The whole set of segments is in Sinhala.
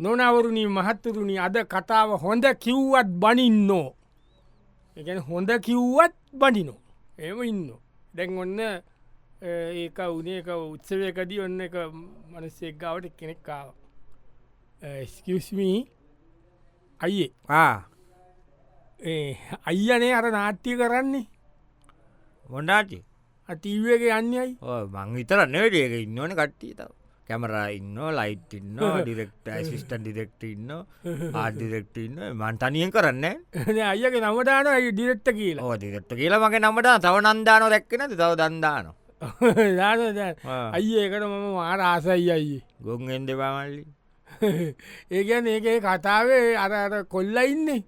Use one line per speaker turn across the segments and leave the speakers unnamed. නොනවරුණී මහත්තුරුණි අද කතාව හොඳ කිව්වත් බනින්නෝ එකන හොඳ කිව්වත් බනිනෝ එම ඉන්න දැන් ඔන්න ඒක උනේක උත්සවයකදී ඔන්න එක මනස්සෙක් ගාවට කෙනෙක්කාව ස්කස්මී අයියේ
ආ
ඒ අයියනේ අර නාට්‍ය කරන්නේ
මොඩාටි
අතීවක යන්නයි
මං විතර නඩියක ඉන්නවන කට්ටිය තව කැමරා ඉන්න ලයිට් ඉන්න ඩිරෙක්ට ඇසිිස්ටන් ඩිරෙක්ට ඉන්න ආඩිරෙක්ට ඉන්න මන්තනියෙන් කරන්න
අයගේ නමදාන ඇ ඩිරෙක්්ට කියලා
ඕ දිරෙක්ට කියලා මගේ නමට තව නන්දාන දැක්කෙන තව දන්දාන
අයි ඒකට මම මාර ආසයි අයියේ
ගොන් එන්ඩ පමල්ලි
ඒගැන ඒ කතාවේ අරට කොල්ල ඉන්නේ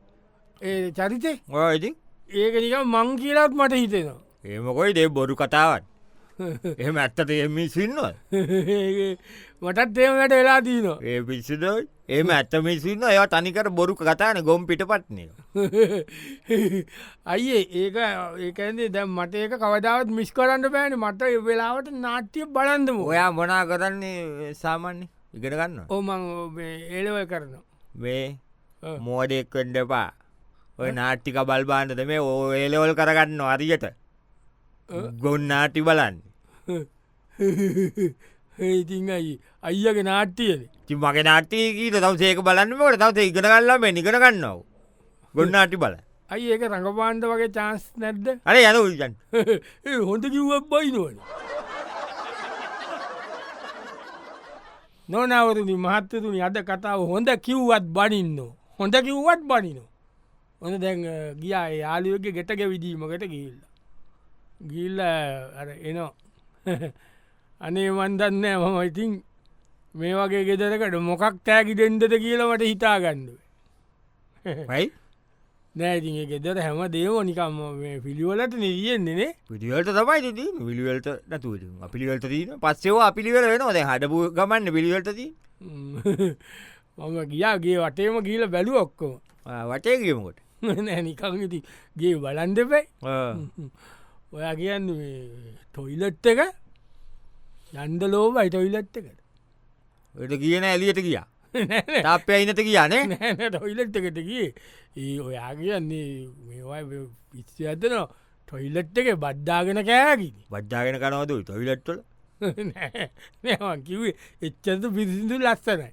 ඒ චරිතේ
ඕයිති
ඒක නික මං කියලත් මට හිතෙනවා
ඒමකොයි දේ බොරු කතාවන් එහම ඇත්තට එමි සින්නව
ඒ මටත් ඒමට වෙලා දීනවා
ඒ පිසිදයි ඒම ඇත්තමි සින්න ඒ තනිකට බොරු කතාන ගොම් පිට පත්නය
අයියේ ඒක ඒකන්දේ දැම් මට ඒක කවදාවත් මිස් කරන්න බෑන මට ඒ වෙලාවට නාට්‍ය බලන්දම ඔය
ඔයා මොනා කරන්නේ සාමාන්‍ය ඉගෙන ගන්න
ඕමං ඒලව කරනවා
මේ මෝඩෙක්කඩපා ඔය නාට්ටික බල්බාන්නද මේ ඕ ඒලෙවල් කරගන්න අරියට ගොන්නාටි බලන්න
ඒතින් අයි අයිගේ නාට්‍යයද
ති මගේ නාට්ටයකීට තව සේක බලන්න මට තවත ඉගෙන කල්ලා මේ නිගෙන ගන්නව ගොන්නාටි බල
අයි ඒක රඟපාන්ද වගේ චාන්ස් නැද්ද
අර යන උල්ගන්න
ඒ හොඳ කිව්වක් බයි නොන නොනවරුදි මහත්තතුනි අද කතාව හොඳ කිව්වත් බනින්නෝ හොඳ කිව්වත් බනිනෝ හොඳ දැන් ගියා යාලියෝගේ ගෙටක විදීමකට ගිල්ල ගිල්ල එනෝ අනේ වන්දන්න මම ඉතින් මේ වගේ ගෙදරකට මොකක් තෑකි දෙෙන්දද කියලවට හිතාගන්නුව
යි
නෑතින් ගෙදර හැම දේව නිකම් පිළිවලට නිියෙන්නේනේ
පිටිවලට තමයි ති විිවලට නැතු පිළිවලට දීන පස්සේවා පිළිවල වෙනවා දැ හඩපු ගමන්න පිළිවලටති
මම ගියාගේ වටේම කියීල බැලු ඔක්කෝ
වටේ කියමකොට
නිකංති ගේ බලන් දෙපයි ඔයා කියන්න ටොයිලට් එක යන්ද ලෝබයි ටොයිලට් එකට
ට කියන ඇලියට කියා තාපය අයිනත කියනේ
නෑ ටොයිලට් එකට ගිය ඒ ඔයා කියන්නේ මේවා පිස්ස ඇතන ටොයිලට් එක බද්ධාගෙන කෑකින
බද්ධාගෙන කනවද තොවිලට්ටල
නෑවන් කිවේ එච්චන්ත පිරිසිදු ලස්සනයි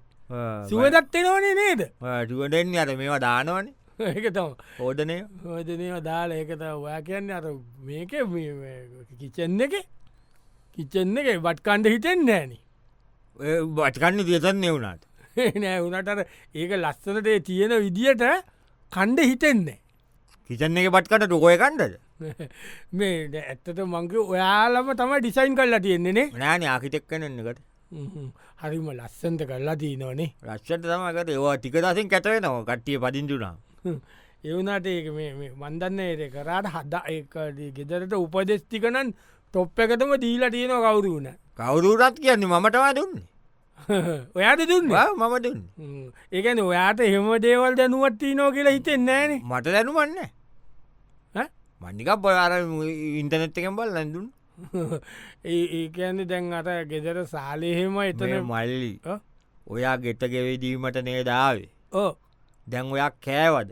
සුවදත්තෙනවනේ නේද
ටුවටෙන් අට මේවා දානවන
ඒක තම
ඕෝඩනය
හෝජනය දාලා ඒකත ඔයා කියන්න අර මේක කිචෙන් එක කිචෙන් එක බට්කණ්ඩ හිතෙන් නෑන
බට්කන්න තියතන්නේ වුණාට
නෑ වනටර ඒක ලස්සනට ඒ තියෙන විදිහට කණ්ඩ හිතෙන්නේ
කිචන්න එක පට්කට ටොකය කණ්ඩද
මේ ඇත්තට මංක ඔයාලම තම ඩිසයින් කරලා තියෙන්නේනේ
නෑන ආකිටෙක්කනන්නකට
හ්ම්. හරිම ලස්සන්ට කරලා තියනවනේ
රක්ෂට තමකට ඒවා ටිකදසින් කැටවේ නව කට්ටිය පදිින්ටුනා
එවනාට ඒ මන්දන්න ඒ කරාට හද ඒ ගෙදරට උපදෙස්තිකනන් තොප් එකතම දීලා තියෙන කවුරු වුණ
කවුරුරත් කියන්නේ මටවා දුන්නේ
ඔයාට දුන්න
මම දුන්න
ඒකන ඔයාට එහෙම දේවල් දැනුවත්ති නෝ කියලා හිතෙන් නෑන
මට දැනුවන්න මණ්ඩිකක් බොලාර ඉන්ටනෙට් එකෙන් බල් ලැඳුන්
ඒකන්න දැන් අත ගෙදර සාලයහෙම
එතන
එතන
මල්ලි
ආ?
ඔයා ගෙට ගෙවෙදීමට නේදාවේ
ඕ
දැන් ඔයා කෑවද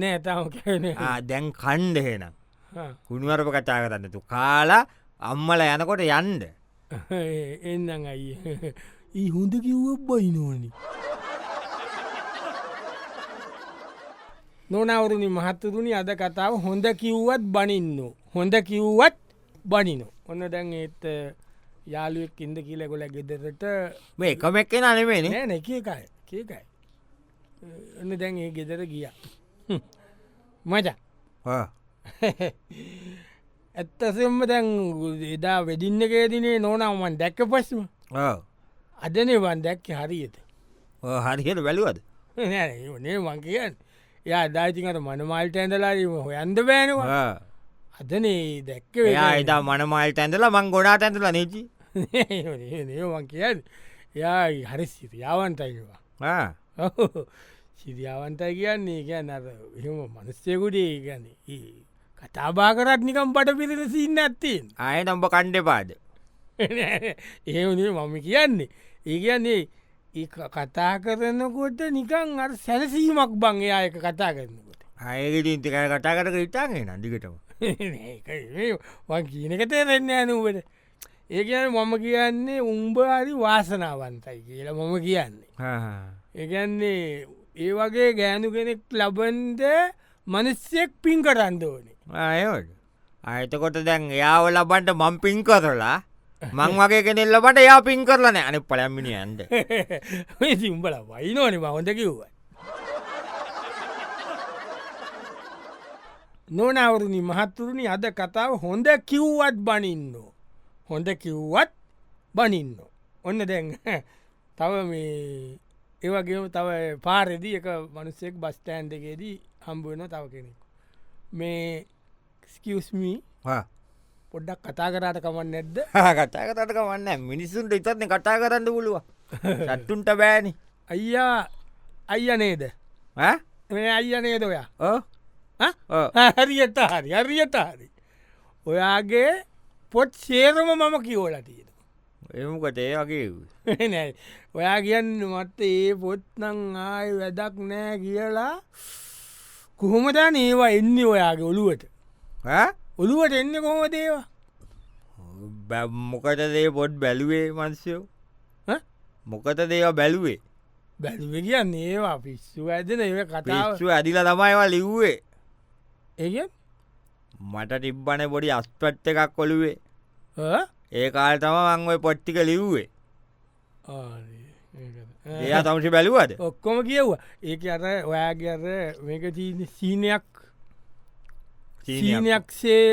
නෑ තම කන
ආ, දැන් කණ්ඩහෙනම් කුණුවරප කතා කරන්නතු කාලා අම්මල යනකොට යන්ඩ
එන්නම් අයියේ ඒ හොඳ කිව්වක් බයිනෝනි නොනවරුණි මහත්තුරුණි අද කතාව හොඳ කිව්වත් බනින්න හොඳ කිව්වත් බනිනෝ ඔන්න දැන් ඒත් යාලුවෙක් ඉද කියලගොල ගෙදරට
මේ එකමක් කෙන අනෙමේන
නෑ නැකයි කියකයි ඔන්න දැන් ඒ ගෙදර ගිය මචා ඇත්තසෙම දැන් එදා වෙදින්නකේදිනේ නොනවමන් දැක්ක පස්ම අදනවන් දැක්ක හරියට
හරිහෙට වැලුවද
නේ මං කියන් එයා අදායිතිකට මනමල්ට ඇඳලාරීම හොයන්ද බෑනවා
ආ.
අදනේ දැක්ක
එයා එදා මනමල්ට ඇඳලා මං ගොඩාට ඇඳලා නීචි
නේවන් කියන් එයා හරි සිරියාවන්ටයිවා සිරියාවන්ටයි කියන්නේ කියන්න අර එහෙම මනස්සයකුටේ ගැන කතාබා කරත් නිකම් පට පිරිට සින්න ඇත්තෙන්
ආය නම්ඹ කණ්ඩ පාද
එහෙමනේ මම කියන්නේ ඒ කියන්නේ ඒ ක- කතා කරනකොට නිකන් අ සැලසීමක් බං එයා එක කතා කරනකොට
අයගෙටින් තිකය කතා කරක ඉතාගෙන අඩිකටම
වන් කියනකට රෙන්න ඇනුවට ඒ කියන මම කියන්නේ උම්බාරි වාසනාවන්තයි කියලා මම කියන්නේ ඒගැන්නේ ඒ වගේ ගෑනු කෙනෙක් ලබන්ද මනස්සෙක් පින් කරන්න ඕනේ
අයෝට අයතකොට දැන් යාව ලබන්ට මං පින් කරලා මං වගේ කෙනෙල් ලබට යා පින් කරලන අනි පළම්මිණි ඇන්ට
මේ සිම්බල වයිනෝනේ මහොඳ කිව්ව නොනවරුණි මහත්තුරුණි අද කතාව හොඳ කිව්වත් බනින්න හොඳ කිව්වත් බනින්න ඔන්න දැන් තව මේ ඒවගේ තව පාරදි එක මනුස්සෙක් බස්ටෑන්් එකේදී හම්බුවන තව කෙනෙක් මේ ස්කස්මී පොඩ්ඩක් කතා කරාට කමන්න නැද්ද
කතා කතට වන්න මිනිස්සුන්ට ඉතත්න කතා කරන්න පුළුව සට්ටුන්ට බෑනි
අයියා අයිය නේද මේ අයිය නේද ඔයා හරියට හරි හරියට හරි ඔයාගේ පොට් සේරම මම කියෝලා තියෙන
එමකට ඒ වගේ
නෑ ඔයා කියන්න මත්ත ඒ පොත්නං ආය වැඩක් නෑ කියලා කොහොමදා ඒවා එන්නේ ඔයාගේ ඔළුවට ඔළුවට එන්න කොහොම දේවා
බැම්මොකට දේ පොඩ් බැලුවේ මන්සයෝ මොකත දේවා බැලුවේ
බැලුව කියන්න ඒවා පිස්සු ඇදන ඒ කතාව
පිස්සු ඇදිල තමයිවා ලිව්වේ
ඒ
මට තිබ්බන පොඩි අස්පට් එකක් කොළුවේ ඒ කාල් තම මංඔය පොට්ටික ලිව්වේ එයා තමසි බැලුවද
ඔක්කොම කියව්වා ඒක අර ඔයාගේ අර මේක තියන සීනයක් සීනයක් සේ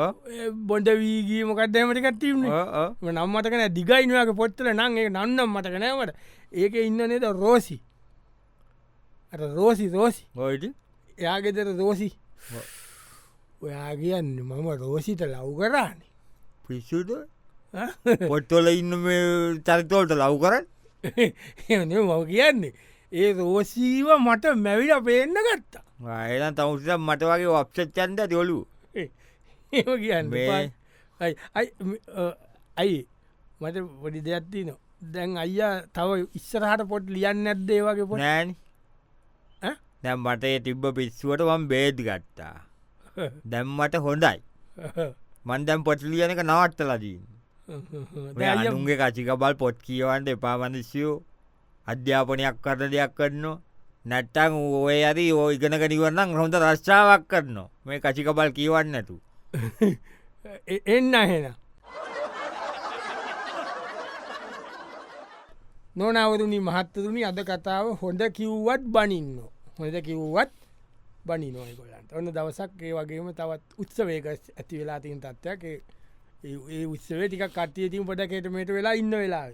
ඕ
ඒ බොඩ වීගී මොකක්දෑමටිකත් තිීම
ඕ ඕ.
නම්මටකන දිගයිනවාගේ පොත්තල නං ඒ නන්නම් මටක නෑවට ඒක ඉන්න නේද රෝසි අර රෝසි රෝසි
ඔයිට
එයාගෙතර රෝසි ඔයා කියන්න මම රෝසිට ලව් කරානේ
පිස්සුද
ඈ?
පොට්ටොල ඉන්න මේ චරිතෝලට ලව් කරන්න
එහෙම නෙවෙයි මම කියන්නේ ඒ රෝසීව මට මැවිල පේන්න ගත්තා
ඒන තමුස මට වගේ වක්ෂච්චන්ද දොලු
ඒ- එහෙම කියන්න
මේ-
එපා. අයි- අයි ම- අ, අයි මට පොඩි දෙයක්ති නො දැන් අයියා තව ඉස්සරහට පොට් ලියන්න නැද්දේ වගේ පො
නෑන්
ඈ?
දැම් මට ඒ තිබ්බ පිස්සුවට වම් බේද් ගත්තා දැම්මට හොඳයි මන්දැම් පොට්ලියන එක නවත්තලදී මේ අනුන්ගේ කචිකබල් පොට් කියවන්ට එපාමනිසියෝ අධ්‍යාපනයක් කරන දෙයක් කරනවා නැට්ටං ඕය ඇති ඕ ඉගෙනකනිවරන්නම් හොඳ රශ්ාවක් කරනවා මේ කචිකබල් කියවන්නතු
එන්න හෙන නොනවරුණි මහත්තතුනි අද කතාව හොඳ කිව්වත් බනින්න හොඳ කිව්වත් බනි නොය ගොලන්ට ඔන්න දවසක් ඒ වගේම තවත් උත්සවේක ඇති වෙලා තින් තත්ත්වයක් ඒ- ඒ ඒ උත්සවේ ටික කට්ටියතින් පොඩ කෙටමට වෙලා ඉන්න වෙලා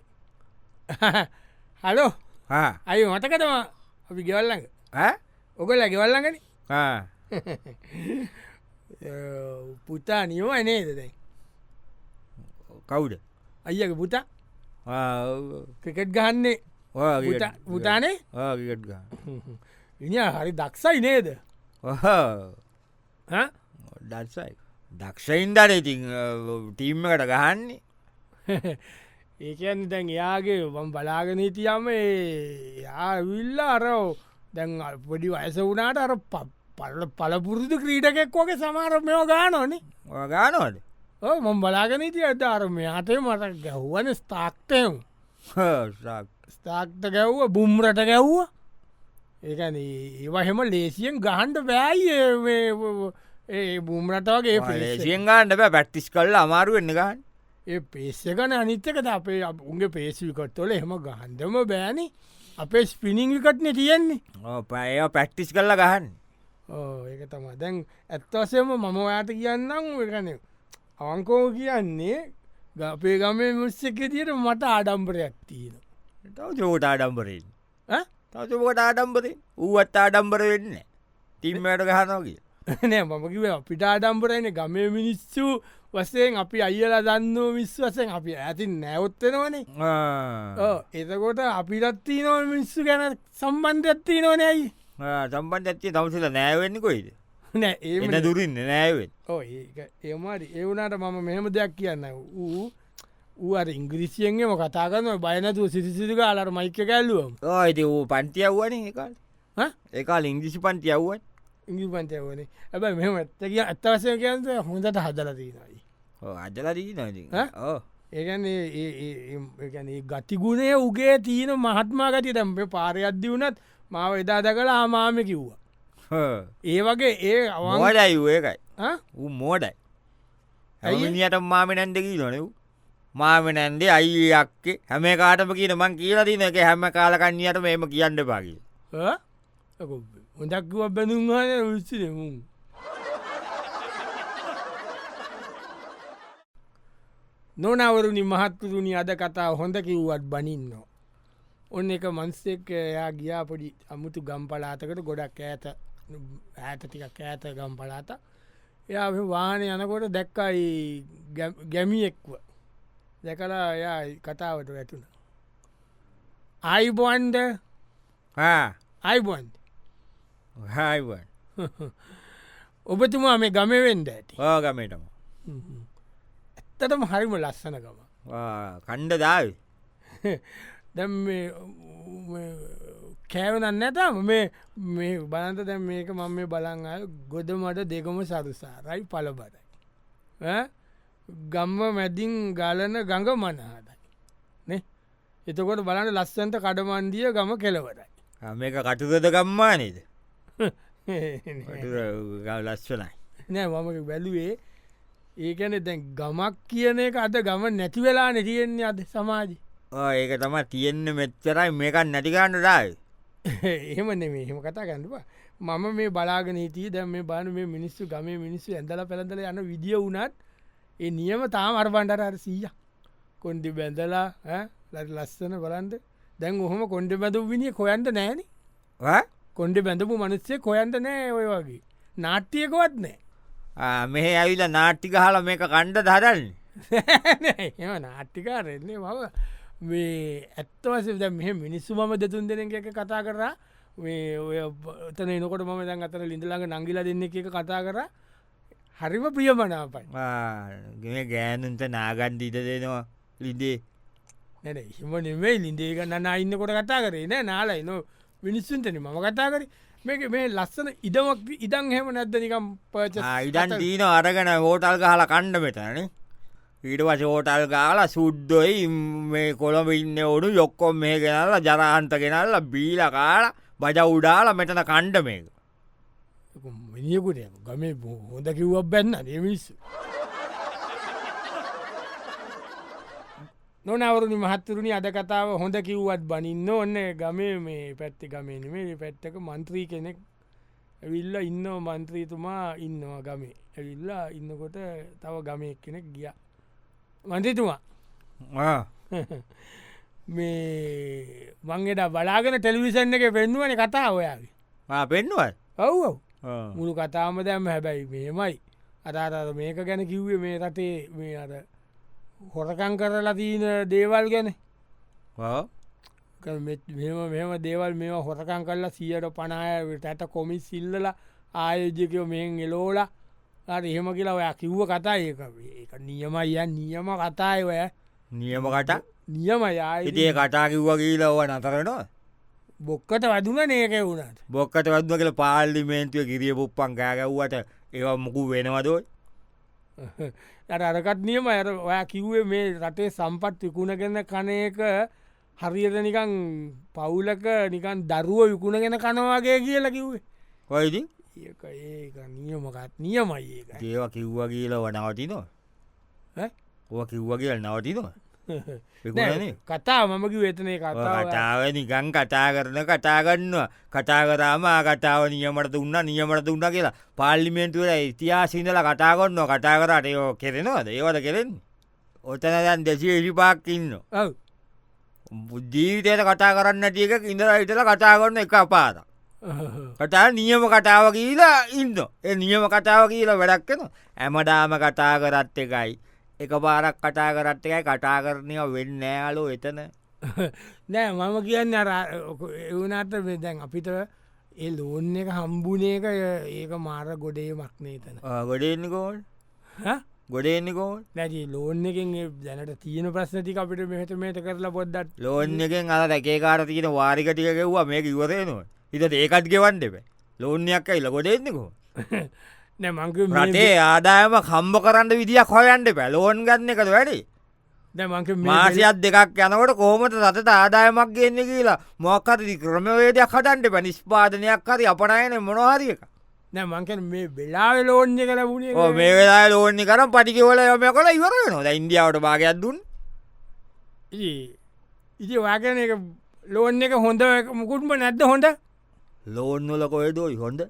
හලෝ
හා
අය මතකතම අපි ගෙවල්ලඟ ඔගොල්ල ගෙවල්ලඟන පුතා නියම නේද දැයි
කවුඩ
අයියක පුතා ක්‍රිකට් ගහන්නේ පුතා- පුතානේ ඉනි හරි දක්ෂයි නේද හ?
ඩක්සයි දක්ෂයින්දර ඉතින් ටීම්මකට ගහන්නේ
ඒ කියන්න දැන් එයාගේ වම් බලාගනීතියම යාවිල්ලා අරෝ දැන් අ- පොඩි වයස වුණට අර ප- පල පලපුරුදු ක්‍රීටකෙක් වගේ සමාර මෙෝ ගානෝනේ
ඔය ගානවද
මම් බලාගනීතිය ඇත අරම අතේ මට ගැහ්වන ස්ථාක්තයම්
හා,
ස්ථාක්ත ගැව්ව බුම්රට ගැව්ව ඒකන ඒවහෙම ලේසියෙන් ගහන්ඩ බෑයි ඒ බුම්රට වගේ
ඔය
පේස එක.
ලේසියෙන් ගාන්න බෑ පැට්ටිස් කල්ල අමාරුවෙන්න ගහන්න
ඒ පේසකන අනිත්තකද අපේ අප- උන්ගේ පේසිවිකට්තොල එහම ගහන්දම බෑනි අපේ ස්පිනිංවිකට්න තියෙන්නේ
පැය පැට්ටිස් කල්ල ගහන්න
ඕ, ඒක තම දැන් ඇත්වසයම මම ඔයාට කියන්නම් එකන අවංකෝ කියන්නේ ග- අපේ ගමේ මුස්සක තියට මට ආඩම්බරයක් තියෙන
තව චෝට ආඩම්බරෙන් තව චෝකට ආඩම්බරෙන් ඌවත් ආඩම්බර වෙන්න තිම්මට ගහනෝකි
නෑ මමකිව අපිට ආඩම්බරයන ගමේ මිනිස්සු වසයෙන් අපි අයිලා දන්න විශ්ව වසයෙන් අපි ඇති නැවත්තෙනවනේ ඕ, එතකොට අපිටත්ති නො මිනිස්සු ගැන සම්බන්ධයක්ත්ති නොනැයි
සම්බන්ධ ඇත්තිේ තවසල නෑවෙන්නකොයිද
නෑ
එන්න
ඒ
දුරන්න නෑවෙන්
ඕ ඒක ඒමරි ඒවුණට මම මෙහෙම දෙයක් කියන්න ඌ ඌර ඉංග්‍රීසියෙන්ගේම කතාගන්න බයනතුව සිසිසික අලර මයික කැල්ලුවම
ඕයිති වූ පන්ති අව්වන ඒකල් ඒකාල් ඉංගිසි පන්ති අව්වන්
ඉංගි පන්තයවනේ ඇබයි මෙම ඇත්තක ඇත්තවසය කියන්ත හොඳට හදලතිනයි
අදලදී නොති
ඈ?
ඕ
ඒගැන ගතිගුණය උගේ තියෙන මහත්මා ගති දැම්ප පාරයද්දි වුනත් මාව එදාද කළ ආමාම කිව්වා ඒ වගේ ඒ අවන්
මෝඩයි වූ ඒකයි ඌ මෝඩයි ඇයිනියට මාමනන්දකී නොනෙව් මාමනන්දේ අයියක්කේ හැම කාටම කියන මං කියලදින එක හැම කාලකන්නයට මේම කියන්න පාකි
හොඳක්ව බැඳුම්හන විස්සිනමුම් නොනවරුණි මහත්තුරුණි අද කතා හොඳ කිව්වත් බනින්නෝ. ඔන්න එක මන්සෙක් එයා ගියාපොඩි අමුතු ගම්පලාතකට ගොඩක් ඇත ඇත ටිකක් ඇත ගම්පලාත එයා මෙ වාන යනකොට දැක්කයි ගැ- ගැමියෙක්ව දැකලා එයා කතාවට වැටුණ. අයිබොන්ඩ අයිබොන්ඩ
හයිව
ඔබතුමා මේ ගමවෙන්ඩ ඇති
ඕගමටම
ඇත්තටම හරිම ලස්සන ගම
කණ්ඩ දාව
දැම් කෑවනන්න නැතම මේ මේ බලන්ත දැම් මේක මම මේ බලන් අය ගොඩ මට දෙකම සරුසාරයි පලබරයි ගම්ම මැදින් ගලන ගඟ මනහදයි නේ එතකොට බලන්න ලස්සන්ට කඩමන්දිය ගම කෙලවරයි
මේක කටුදද ගම්මානේද
නෑ
ලස්සනයි
මම බැලුවේ ඒකැන දැන් ගමක් කියන එක අද ගම නැති වෙලා නැතියෙන්නේ අද සමාජි
ඕ ඒක තම තියෙන්න මෙච්චරයි මේකන් නැටිකාන්න දාව
එහෙම නෙමේ එහෙම කතා ගඩුවා මම මේ බලාගෙන හිටිය දැම් මේ බාන මේ මිනිස්සු ගම මිනිස්සු ඇඳල පැළඳල යන විදිිය වුණත් ඒ නියම තාම අරබන්ඩට අර සීය කොන්ඩි බැඳලා ඈ? ලට ලස්සන බලන්ද දැන් ඔහොම කොන්ඩ බැඳු විනිිය කොයන්ට නෑන කොන්ඩ බැඳපු මනුස්සේ කොයන්ට නෑ ඔය වගේ නාට්‍යයකවත්
මෙහ ඇවිල නාට්ටික හල මේක කණ්ඩ දරන්න
නෑ එම නාට්ටිකාරෙන්නේ මම මේ ඇත්තවස මෙ මිනිස්සු මම දෙතුන් දෙන එක කතා කරා මේ ඔය තන නොකට මම දැන් අතර ලිඳලාඟ නංගිල දෙන්න එක කතා කර හරිම ප්‍රියමනාපයි
ගෑනුන්ට නාගන්ඩ ඉට දෙනවා ලිදේ
නැන හිම නෙවෙයි ලින්දේක නන්න ඉන්න කොට කතා කරේ නෑ නාලයි නො මිනිස්සුන්ටන මම කතා කරේ මේක මේ ලස්සන ඉඩමක් ඉඩන් හෙම නැද්දනිකම් පච
ඉඩන් දීන අරගෙන හෝටල් ගහල කණ්ඩ මෙතන ඊට පස හෝටල් ගාල සුද්දොයි මේ කොළඹ ඉන්න ඔඩු යොක්කොම් මේ ගෙනල්ල ජරහන්ත ගෙනල්ල බීල කාල බජ උඩාල මෙතන කණ්ඩ මේක
මිනිියකුට ගමේ බො- හොඳ කිව්වක් බැන්න නමිස්සු නොනවරුණි මහත්තුරුණි අද කතාව හොඳ කිව්වත් බනින්න ඔන්න ගමේ මේ පැත්ති ගමේනේ පැත්තක මන්ත්‍රී කෙනෙක් ඇවිල්ල ඉන්න මන්ත්‍රීතුමා ඉන්නවා ගමේ ඇවිල්ලා ඉන්නකොට තව ගමයක් කෙනෙක් ගිය මන්ත්‍රීතුමා මේ මංගෙට බලාගෙන ටෙලිවිසන් එක පෙන්නුවන කතා ඔයාගේ
පෙන්නුවත්
ඔව් ඔව් මුළු කතාම දැම හැබැයි මේමයි අදාතර මේක ගැන කිව්වේ මේ රටේ මේ අද හොරකං කරලා තියන දේවල් ගැන ක- මෙ- මෙම මෙම දේවල් මෙ හොරකං කරලා සියට පණයට ඇට කොමිස් සිල්ලල ආයෝජකයෝ මෙන් එලෝල අර එහෙම කියලා ඔයා කිව්ව කතා ඒක ඒක නියමයි යන් නියම කතාය ඔය
නියම කට
නියම යායි
ඉතිේ කටා කිව්වා කියීලව නතරනවා
බොක්කට වදුන නේක වුණට
බොක්කට වත්ම කියල පාල්ලිමේන්තුව කිරිය පුප්පන් කෑගැව්වට ඒවා මුකු වෙනවදයි
යට අරකත් නියම ඇර ඔයා කිව්වේ මේ රටේ සම්පත් විකුණගෙන කනයක හරියට නිකන් පවුලක නිකන් දරුව විකුණගෙන කනවාගේ කියලා කිව්වේ
කොයිදි
ඒක ඒක නියමකත් නියමයි ඒක
ඒවා කිව්වා කියීලව නවතිනවා
ඈ?
ඔ කිව්වා කියල නවතිනවා
නෑ,
විකුණනේ
කතා මමකි වෙතනය කතා
කතාව නිකං කතා කරන කතාගන්නවා කතාකරාම කතාව නියමට දුන්න නියමට දුන්න කියලා පාල්ලිමෙන්ටුවල ඉතිහාසිදල කතාගොන්න කතාකරට යෝ කෙරෙනවා දේවද කෙරෙන් ඔතන දැන් දෙසි ඉරිපාක් ඉන්න
ඔව්
ජීවිතයට කතා කරන්න ටියක ඉඳලා ඉටල කතාගන්න එක අපාද කතා නියම කතාව කියලා ඉන්න ඒ නියම කතාව කියලා වැඩක් වෙන ඇමඩාම කතා කරත් එකයි එක පාරක් කතා කරත් එකයි කතා කරනය වෙන්නෑලෝ එතන
නෑ මම කියන්න එවුනාට දැන් අපිට ඒ ලෝන් එක හම්බුනේක ඒක මාර ගොඩේ මක්නේ තන
ආ, ගොඩේන්නකෝල්
හ?
ගොඩෙන්න්නකෝ
නැති ලෝන් එකෙන් ඒ දැනට තියෙන ප්‍රශ්නතික අපිට මෙහට මේට කරලා පොද්දත්
ලෝන් එකෙන් අල දැකේකාර තියෙන වාරිකටික ගෙව්වා මේක ඉවරයනවා හිත ඒකත් ගෙවන් දෙබ ලෝන්යක් අයිල ගොඩෙන්න්නකෝ
නෑ මංක
රටේ ආදායම කම්බ කරන්න විදිියක් හොයන්ට පැලෝන් ගන්න එකද වැඩි
දැ මංක
මාසියත් දෙකක් යනකොට කොහොමට රට ආදායමක් ගන්න කියලා මොක්කත ක්‍රමවේදයක් හටන්ට පැ නිස්්පාදනයක් හරි අපනයන මොනවාරියක
නෑ මංක මේ වෙලාව ලෝන්්‍ය කර
ඕ
වුණේ
මේ වෙලා ලෝනි කරම් පටිකිවල යොම කළ ඉවර නොද ඉන්දියාවට භාගයක් දුන්
ඉති වාගන එක ලෝන් එක හොඳ එක මුකුටම නැද්ද හොඳ
ලෝන්නලකොයදෝයි හොඳ